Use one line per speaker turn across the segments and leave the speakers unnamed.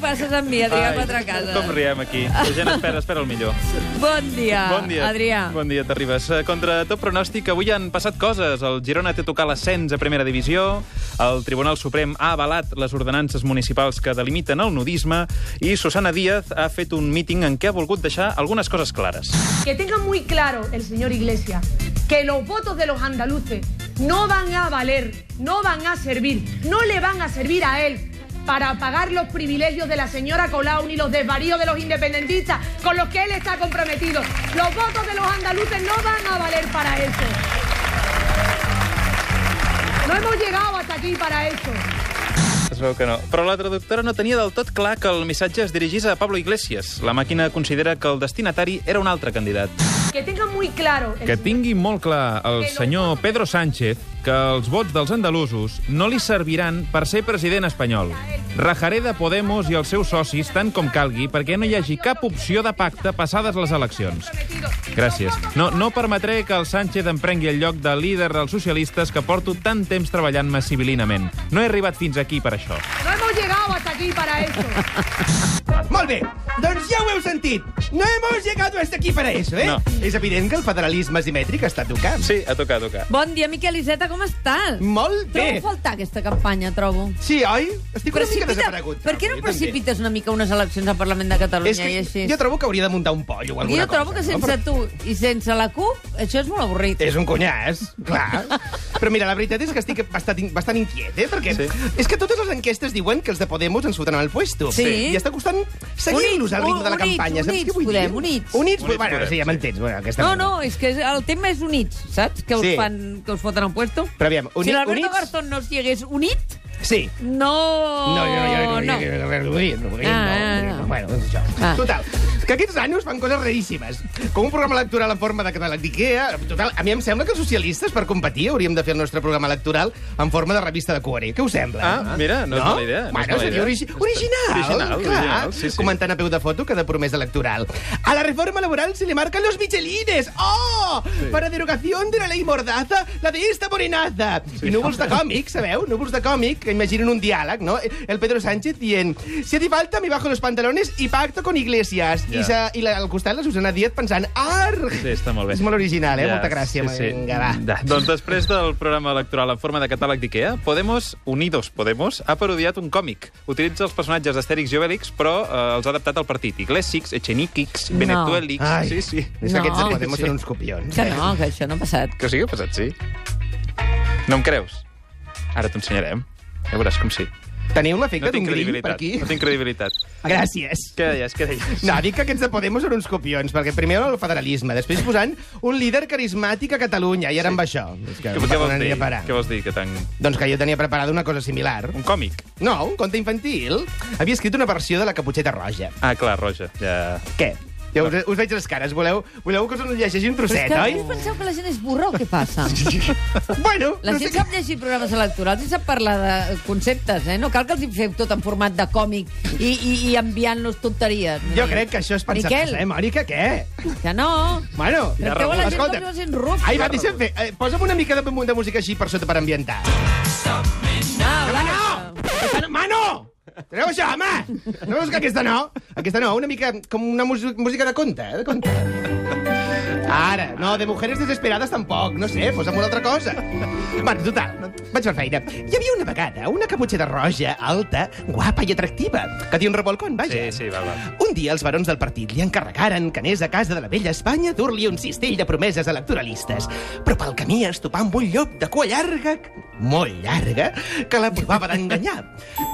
passes amb mi, Adrià
Ai,
Petracasa.
Com riem aquí. La gent espera, espera el millor.
Bon dia,
Bon dia.
Ah, Adrià.
Bon dia, t'arribes. Eh, Contra tot pronòstic, avui han passat coses. El Girona té a tocar l'ascens a primera divisió, el Tribunal Suprem ha avalat les ordenances municipals que delimiten el nudisme i Susana Díaz ha fet un míting en què ha volgut deixar algunes coses clares.
Que tenga muy claro el señor Iglesias que los votos de los andaluces no van a valer, no van a servir, no le van a servir a él para pagar los privilegios de la señora Colau ni los desvaríos de los independentistas con los que él está comprometido. Los votos de los andaluces no van a valer para eso. No hemos llegado hasta aquí para eso.
Es veu que no. Però la traductora no tenia del tot clar que el missatge es dirigís a Pablo Iglesias. La màquina considera que el destinatari era un altre candidat.
Que tenga muy claro el
Que
señor-
tingui molt clar el senyor Pedro Sánchez que els vots dels andalusos no li serviran per ser president espanyol. Rajaré de Podemos i els seus socis tant com calgui perquè no hi hagi cap opció de pacte passades les eleccions. Gràcies. No, no permetré que el Sánchez em prengui el lloc de líder dels socialistes que porto tant temps treballant-me civilinament. No he arribat fins aquí per això.
No hemos llegado hasta aquí para eso.
Molt bé, doncs ja ho heu sentit. No hemos llegado hasta aquí para eso, eh?
No.
És evident que el federalisme asimètric ha estat tocat.
Sí, a tocar, a tocar.
Bon dia, Miquel Iceta, com estàs?
Molt
Trobo
bé.
a faltar aquesta campanya, trobo.
Sí, oi? Estic una mica desaparegut.
per què no
avui, també.
precipites una mica unes eleccions al Parlament de Catalunya
És que
i així?
jo trobo que hauria de muntar un pollo o
jo
alguna
trobo
cosa,
que
no?
sense tu i sense la CUP, això és molt avorrit.
És un cunyàs, clar. Però mira, la veritat és que estic bastant, in- bastant inquiet, eh? Perquè
Sí.
sí. és que totes les enquestes diuen que els de Podemos ens foten al puesto.
Sí.
I està costant seguir-los al ritme de la
Units,
campanya. Saps
units
què vull
podem,
dir?
units.
Units,
Units
units bueno,
podem,
sí, ja
sí.
m'entens. Bueno, aquesta
No,
manera.
no, és que el tema és units, saps? Que us,
Sí.
fan, que us foten al puesto.
Però aviam, uni-
si l'Alberto
units-
Garzón no estigués unit,
Sí.
no...
No, jo no, jo no, jo no, no, vull, no, vull, no,
Ah,
no,
ah,
no. Bueno, doncs això.
Ah.
Total, que aquests anys fan coses raríssimes. Com un programa electoral en forma de catàleg d'Ikea... Total, a mi em sembla que els socialistes, per competir, hauríem de fer el nostre programa electoral en forma de revista de cuore. Què us sembla?
Ah, mira, no és mala idea, no és
Bueno,
mala
seria
idea.
origi original,
Original,
clar.
original, sí, sí.
Comentant a peu de foto cada promesa electoral. A la reforma laboral se le marcan los michelines. Oh! Para derogación de la ley mordaza, la de esta morenaza. I núvols de còmic, sabeu? Núvols de còmic, que imaginen un diàleg, no? El Pedro Sánchez dient si a ti falta, me bajo los pantalones y pacto con Iglesias.
Ja.
I, sa, i la, al costat la Susana Díaz pensant arg!
Sí, està molt bé.
És molt original, eh? Molta gràcia.
sí, sí.
Vinga, va.
Da. Doncs després del programa electoral en forma de catàleg d'IKEA, Podemos, Unidos Podemos, ha parodiat un còmic. Utilitza els personatges d'Astèrix i Obélix, però eh, els ha adaptat al partit. Iglesix, Echeniquix,
No.
Benetuelix...
Ai,
Sí, sí.
És que aquests
No.
de Podemos són uns copions. eh?
Que no, que això no ha passat.
Que sí, que ha passat, sí. No em creus? Ara t'ensenyarem. Ja veuràs com sí.
Teniu l'efecte
No
d'un
tinc
grill per
credibilitat.
aquí?
No tinc credibilitat.
Gràcies.
Què deies, què deies?
No, dic que aquests de Podemos són uns copions, perquè primer el federalisme, després posant un líder carismàtic a Catalunya, i ara amb això. És que,
Què, què
on
vols dir?
aniria a parar?
Què vols dir? Que tan...
Doncs que jo tenia preparada una cosa similar.
Un còmic?
No, un conte infantil. Havia escrit una versió de la Caputxeta Roja.
Ah, clar, Roja. Ja...
Què? Ja us, us veig les cares. Voleu, voleu que us en llegeixi un
Però és
trosset,
que
oi?
vosaltres penseu que la gent és burra o què passa?
Bueno,
La
no
gent
sé
sap llegir programes electorals i sap parlar de conceptes, eh? No cal que els hi feu tot en format de còmic i, i, i enviant-los tonteries.
Jo crec que això és pensar
Miquel.
eh, Mònica, què?
Que no.
Bueno,
Tracteu a la gent
escolta.
com la gent rufa.
Ai, va, deixa'm fer. Eh, posa'm una mica de, de música així per sota per ambientar.
Ah, va.
No! Aquesta no! Mano! Treu això, home! No veus que aquesta no? Aquesta no, una mica com una mús- música de conte, eh? de conte. Ara, no, de mujeres desesperades tampoc, no sé, posa'm una altra cosa. Bueno, total, vaig per feina. Hi havia una vegada una caputxeta roja, alta, guapa i atractiva, que té un revolcón, vaja.
Sí, sí, va, va.
Un dia els barons del partit li encarregaren que anés a casa de la vella Espanya a dur-li un cistell de promeses electoralistes. Però pel camí es topà amb un llop de cua llarga, molt llarga, que la provava d'enganyar.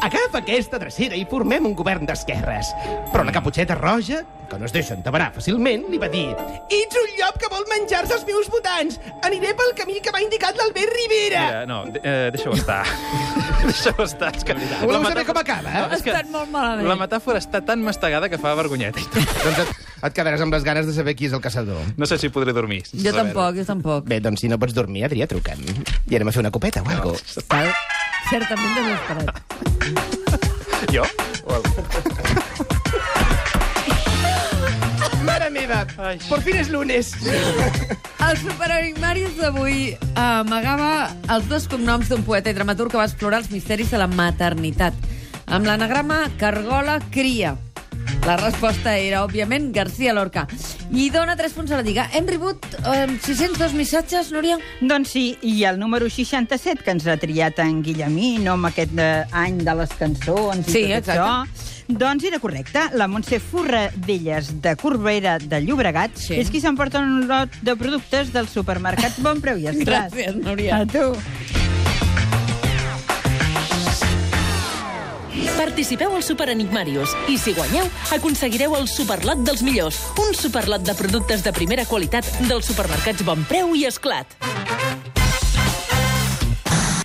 Agafa aquesta drecera i formem un govern d'esquerres. Però la caputxeta roja, que no es deixa entabarar fàcilment, li va dir «Ets un llop que vol menjar-se els meus votants! Aniré pel camí que m'ha indicat l'Albert Rivera!»
Mira, no, de- eh, deixa-ho estar. deixa-ho estar. És que
Voleu
la
saber
metàfora-
com acaba?
No, és que
Estan molt malament.
La metàfora està tan mastegada que fa vergonyeta.
Doncs et, et quedaràs amb les ganes de saber qui és el caçador.
No sé si podré dormir. sense
Jo
saber-ho.
tampoc, jo tampoc.
Bé, doncs si no pots dormir, Adrià, truca'm. I anem a fer una copeta o algo.
Està certament desesperat.
Jo?
Mare meva,
Ai.
por fin es lunes.
El Superenigmàrius d'avui eh, amagava els dos cognoms d'un poeta i dramaturg que va explorar els misteris de la maternitat. amb l'anagrama Cargola Cria. La resposta era, òbviament, García Lorca. I dona 3 punts a la lliga. Hem rebut eh, 602 missatges, Núria?
Doncs sí, i el número 67 que ens ha triat en Guillemín, home, aquest eh, any de les cançons
Sí,
i tot
exacte.
això, doncs era correcte. La Montse Forradellas de Corbera de Llobregat
Sí.
és qui s'emporta un lot de productes del supermercat Bon Preu i Estrat.
Gràcies, Núria.
A tu.
Participeu al Superenigmàrius i, si guanyeu, aconseguireu el superlot dels millors, un superlot de productes de primera qualitat dels supermercats Bon Preu i Esclat.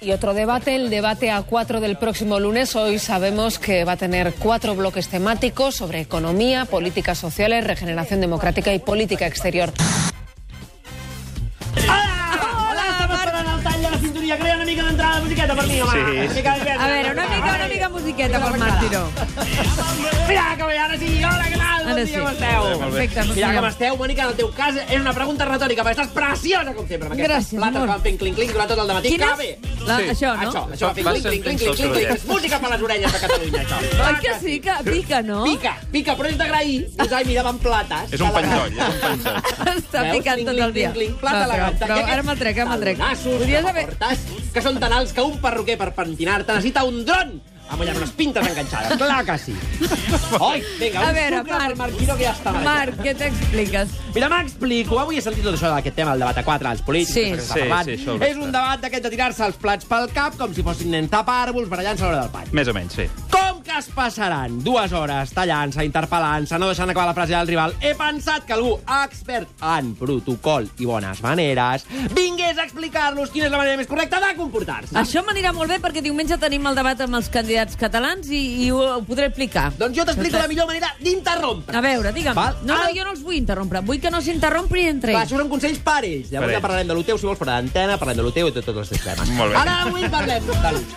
Y otro debate, el debate a cuatro del próximo lunes. Hoy sabemos que va a tener cuatro bloques temáticos sobre economía, políticas sociales, regeneración democrática y política exterior.
Hola, estem esperant el tall de la cinturia. Crea una mica d'entrada de musiqueta per mi, home.
Sí.
Una mica de
A veure, una mica, una mica musiqueta per Martiro.
Mira, que bé, ara sí. Hola, què tal?
Ara
Bon
sí.
dia, com esteu? doncs
molt bé.
Perfecte,
Mira, com
Núria.
esteu, Mònica, en el teu cas és una pregunta retòrica, però estàs preciosa, com sempre, amb aquestes
Gràcies,
plates
amor.
que van fent clinc-clinc durant tot el dematí.
Quina?
Que bé!
La,
Sí.
Això, no?
Això, això va fent
Va
clinc-clinc,
sent
clinc-clinc,
sol,
clinc-clinc. És música per les orelles de Catalunya, això.
Oi
Clar
Ah, que sí, que pica, no?
Pica, pica, però és d'agrair. Us ai, mirava amb plates.
És un penjoll, és un penjoll.
Està
Veus?
picant
Cling,
tot
cling,
el dia.
cling, cling, plata
No, però,
elegant.
però
Aquests
ara me'l trec, ara me'l trec.
talonassos,
Podries haver...
camaportes, que són tan alts que un perruquer per pentinar-te necessita un dron amb allà unes pintes enganxades. Clar que sí. Oi, vinga,
A
un
veure,
sucre per
Marc.
Marquino que ja està marejat.
Marc, què t'expliques?
Mira, m'explico. Avui he sentit tot això d'aquest tema, el debat a quatre, els polítics,
Sí.
això que s'està
Sí,
parlant.
sí, això ho
és un debat d'aquest de tirar-se els plats pel cap com si fossin nens tapàrvols barallant-se a l'hora del pany.
Més o menys, sí.
Com que es passaran dues hores tallant-se, interpel·lant-se, no deixant acabar la frase del rival, he pensat que algú expert en protocol i bones maneres vingués a explicar-los quina és la manera més correcta de comportar-se.
Això m'anirà molt bé perquè diumenge tenim el debat amb els candidats catalans i, i ho, ho podré explicar.
Doncs jo t'explico la millor manera d'interrompre.
A veure, digue'm.
Val.
No, no,
Ara-
jo no els vull interrompre. Vull que no s'interrompri entre
Va,
ells.
això són consells per ells. Llavors
Per
ja
ells.
parlarem de l'Uteu, si vols, per l'antena, parlarem de l'Uteu i de tots els teus temes.
Molt bé.
Ara avui parlem de l'ús.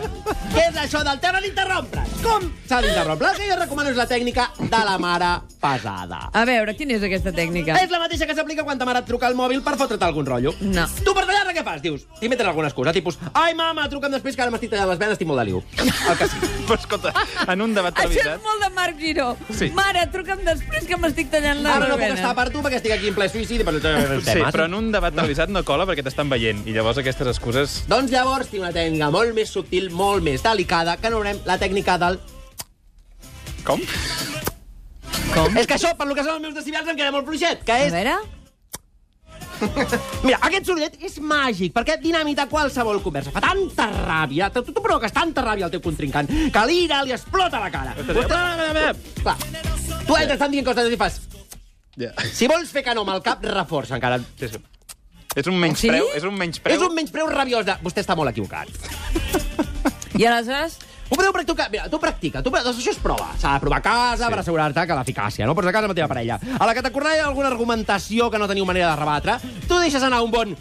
Què és això del tema d'interrompre? Com s'ha d'interrompre? El que jo recomano és la tècnica de la mare pesada.
A veure, quina és aquesta tècnica?
És la mateixa que s'aplica quan ta mare et truca al mòbil per fotre't algun rotllo.
No.
Tu per tallar-la què fas? Dius, t'inventes alguna excusa, tipus, ai, mama, truca'm després que ara m'estic tallant les venes, estic molt de liu. El que sí.
Però escolta, en un debat
Això és
televisat...
molt de Marc Giró.
Sí.
Mare, truca'm després que m'estic tallant la
Ara no puc
verbena.
estar per tu perquè estic aquí en ple suïcidi, però...
Sí,
eh?
però en un debat televisat no cola perquè t'estan veient. I llavors aquestes excuses...
Doncs llavors tinc una tècnica molt més subtil, molt més delicada, que anomenem la tècnica del...
Com?
Com? És que això, per lo que són els meus decibels, em queda molt fluixet, que
A
és...
veure...
Mira, aquest sorollet és màgic, perquè dinamita qualsevol conversa. Fa tanta ràbia, tu, tu provoques tanta ràbia al teu contrincant, que l'ira li explota la cara. Clar, tu entres estan dient coses i fas...
Ja.
Si vols fer que no amb el cap, reforça encara.
Sí, sí. És un menyspreu,
Sí?
és un menyspreu.
És un menyspreu rabiós de... Vostè està molt equivocat.
I aleshores...
Ho podeu practicar... Mira, tu practica. Tu... Doncs això és prova. S'ha de provar a casa sí. per assegurar-te que l'eficàcia, no? Pots a casa amb la teva parella. A la que t'acordaria alguna argumentació que no teniu manera de rebatre, tu deixes anar un bon...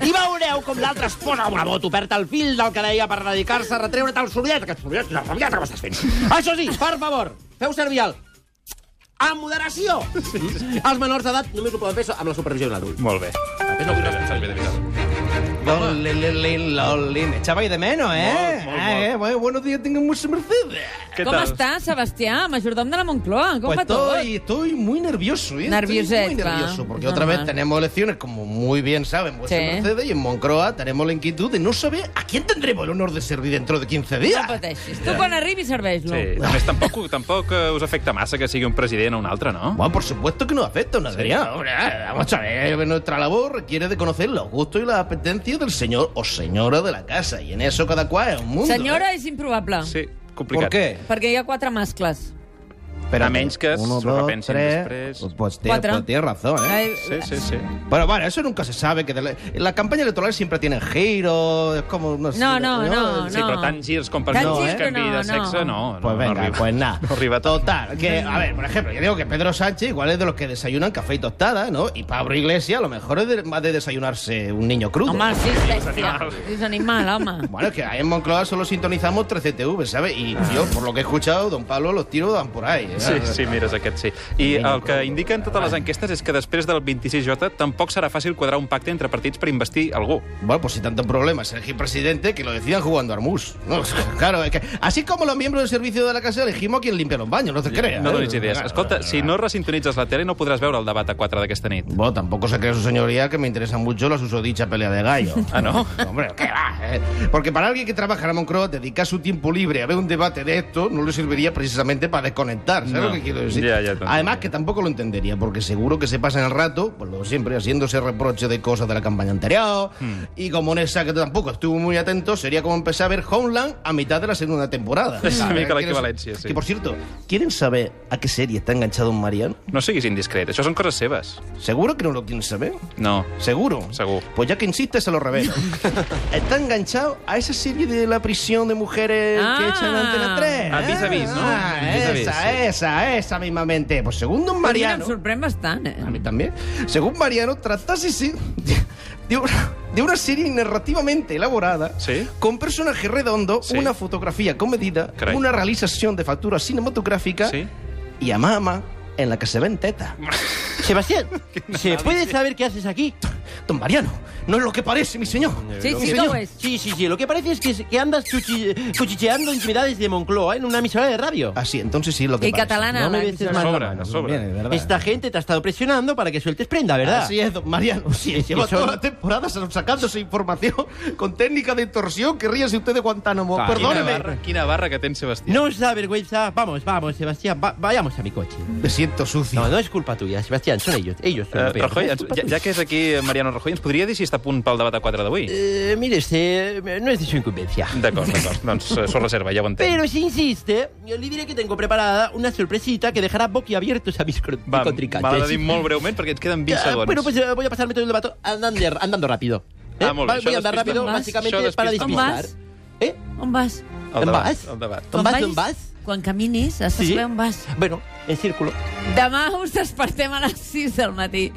I veureu com l'altre es posa una bota, perd el fil del que deia per dedicar-se a retreure-te el sorollet, aquest sorollet, la rabiata que m'estàs fent. Això sí, per favor, feu servir el... Amb moderació! Els menors d'edat només ho poden fer amb la supervisió d'un adult.
Molt bé.
Després no vull responsabilitat.
Loli, me echabais de menos, ¿eh?
Molt, molt,
Ah, eh, bueno, buenos días, tengo mucha merced.
Què
Com
tal?
està, Sebastià, majordom de la Moncloa? Com
Pues
va tot?
estoy, estoy muy nervioso, ¿eh?
Nervioset,
Estoy muy nervioso,
va.
porque
Normal.
otra vez tenemos elecciones, como muy bien saben vuestros
Sí.
Mercedes, y en Moncroa tenemos la inquietud de no saber a quién tendremos el honor de servir dentro de 15
No
días.
pateixis. Tu quan arribis serveix-lo.
Sí, a més, tampoc, tampoc eh, us afecta massa que sigui un president o un altre, no?
Bueno, por supuesto que nos afecta, una Vamos a ver, nuestra labor requiere de conocer los gustos y las apetencias del señor o señora de la casa, y en eso cada cual es un mundo.
Senyora
¿eh?
és improbable.
Sí, complicat.
¿Por qué?
Perquè hi ha quatre mascles.
Pero
A menys que
uno,
se
dos,
repensen
tres,
després.
Pues, pues, tiene-
Quatre.
pues tienes razón, ¿eh?
Ai,
Sí, sí, sí.
Bueno, bueno, eso nunca se sabe. Que de la, la campaña electoral siempre tienen giros, es como... No, Pues sé,
No, no, no,
Sí,
no.
però tants girs com per
Tants
no, eh?
girs que
canvi
no,
de
no.
sexe, no. no
Pues
no
venga,
arriba.
pues nada.
No arriba tot.
Total, que, a ver, por ejemplo, yo digo que Pedro Sánchez igual es de los que desayunan café y tostada, ¿no? Y Pablo Iglesias a lo mejor es de, más de desayunarse un niño crudo.
Home, sí, és bèstia. És animal, home. Doncs
Bueno, es que ahí en Moncloa solo sintonizamos 13TV, ¿sabes? Y yo, por lo que he escuchado, don Pablo los tiros dan por ahí. ¿eh?
Sí, sí, mires aquest, sí. I el que indiquen totes les enquestes és que després del 26J tampoc serà fàcil quadrar un pacte entre partits per investir algú.
Bueno, pues si tanto problema es elegir presidente, que lo decidan jugando a Armus. No, claro, es que así como los miembros del servicio de la casa elegimos a quien limpia los baños, no te creas.
No
¿eh?
donis idees. Escolta, si no resintonitzes la tele no podrás veure el debat a 4 d'aquesta nit.
Bueno, tampoco se crea su señoría que me interesa mucho la susodicha pelea de gallo.
Ah, no?
Hombre, ¿qué va? eh? Porque para alguien que trabaja en Ramón Cross, dedicar su tiempo libre a ver un debate de esto no le serviría precisamente para desconectar. ¿Sabes
No.
lo que quiero decir?
Ya, ya te entiendo.
Además, que tampoco lo entendería, porque seguro que se pasan el rato, pues lo siempre, haciéndose reproche de cosas de la campaña anterior.
Hmm.
Y como en esa que tampoco estuvo muy atento, sería como empezar a ver Homeland a mitad de la segunda temporada.
Es una
¿Sabes?
mica la
¿Quieres-
equivalencia, sí.
Que por cierto, ¿quieren saber a qué serie está enganchado un Mariano?
No siguis indiscret, això són coses seves.
¿Seguro que no lo quieren saber?
No.
¿Seguro?
Segur.
Pues ya que insistes, se lo revés. Está enganchado a esa serie de la prisión de mujeres que
Ah.
echan en Antena 3.
Ah, Vis a Vis, ¿no?
Ah,
Vis a Vis,
esa,
sí.
esa, esa mismamente. Pues según don
Pues Mira, em
Mariano...
sorprèn bastant, eh?
A mí también. Según Mariano, tratase sí, de, de una, de una serie narrativamente elaborada,
Sí.
con personaje redondo,
Sí.
una fotografía comedida,
Caray.
una realización de factura cinematográfica
Sí.
y a mama en la que se ven teta.
Sebastián, ¿se puede saber qué haces aquí?
Don Mariano, no es lo que parece, mi señor.
Sí, sí, no ho és.
Sí, sí, sí. Lo que parece es que, que andas cuchi- cuchicheando intimidades de Moncloa en una emisora de radio.
Ah,
Así, entonces sí es lo que
I
parece.
catalana.
No me
la-
ves
A
Manda
sobre,
mano,
a sobre.
Esta gente te ha estado presionando para que sueltes prenda,
Ah,
¿verdad?
Así es, don Mariano. Sí, lleva
Eso-
toda la temporada sacándose información con técnica de torsión que ríase usted de Guantánamo.
Claro.
Quina
Perdóneme.
barra, quina barra que tens, Sebastià.
No os da vergüenza. Vamos, vamos, Sebastián. va- vayamos a mi coche.
Me siento sucio.
No, no es culpa tuya, Sebastián. Son ellos. Ellos son
Eh,
lo peor.
Rajoy,
No es
ens,
culpa
ja, ja que és aquí eh, Mariano Rajoy, ens podria dir si està a punt pel debat a 4 d'avui?
Eh, mire, este, eh, no es de su incumbencia.
D'acord, d'acord. Doncs eh, s'ho reserva, ja ho entenc.
Pero si insiste, yo le diré que tengo preparada una sorpresita que dejará boquiabiertos a mis cro-
Va, m'ha
contrincantes.
de dir molt breument perquè ens queden 20
Ah,
segons.
Bueno, pues eh, voy a pasarme todo el debate andando, andando rápido. ¿eh?
Ah, molt bé,
Va-
això
voy a
despista.
andar rápido,
On vas?
básicamente,
Això
para
despista.
On
despistar.
vas?
¿Eh?
On vas?
El
¿En
debat,
vas?
el debat.
¿En vas? ¿En vas?
Quan caminis, has de
Sí.
saber on vas.
Bueno, en círculo.
Demà us despertem a les 6 del matí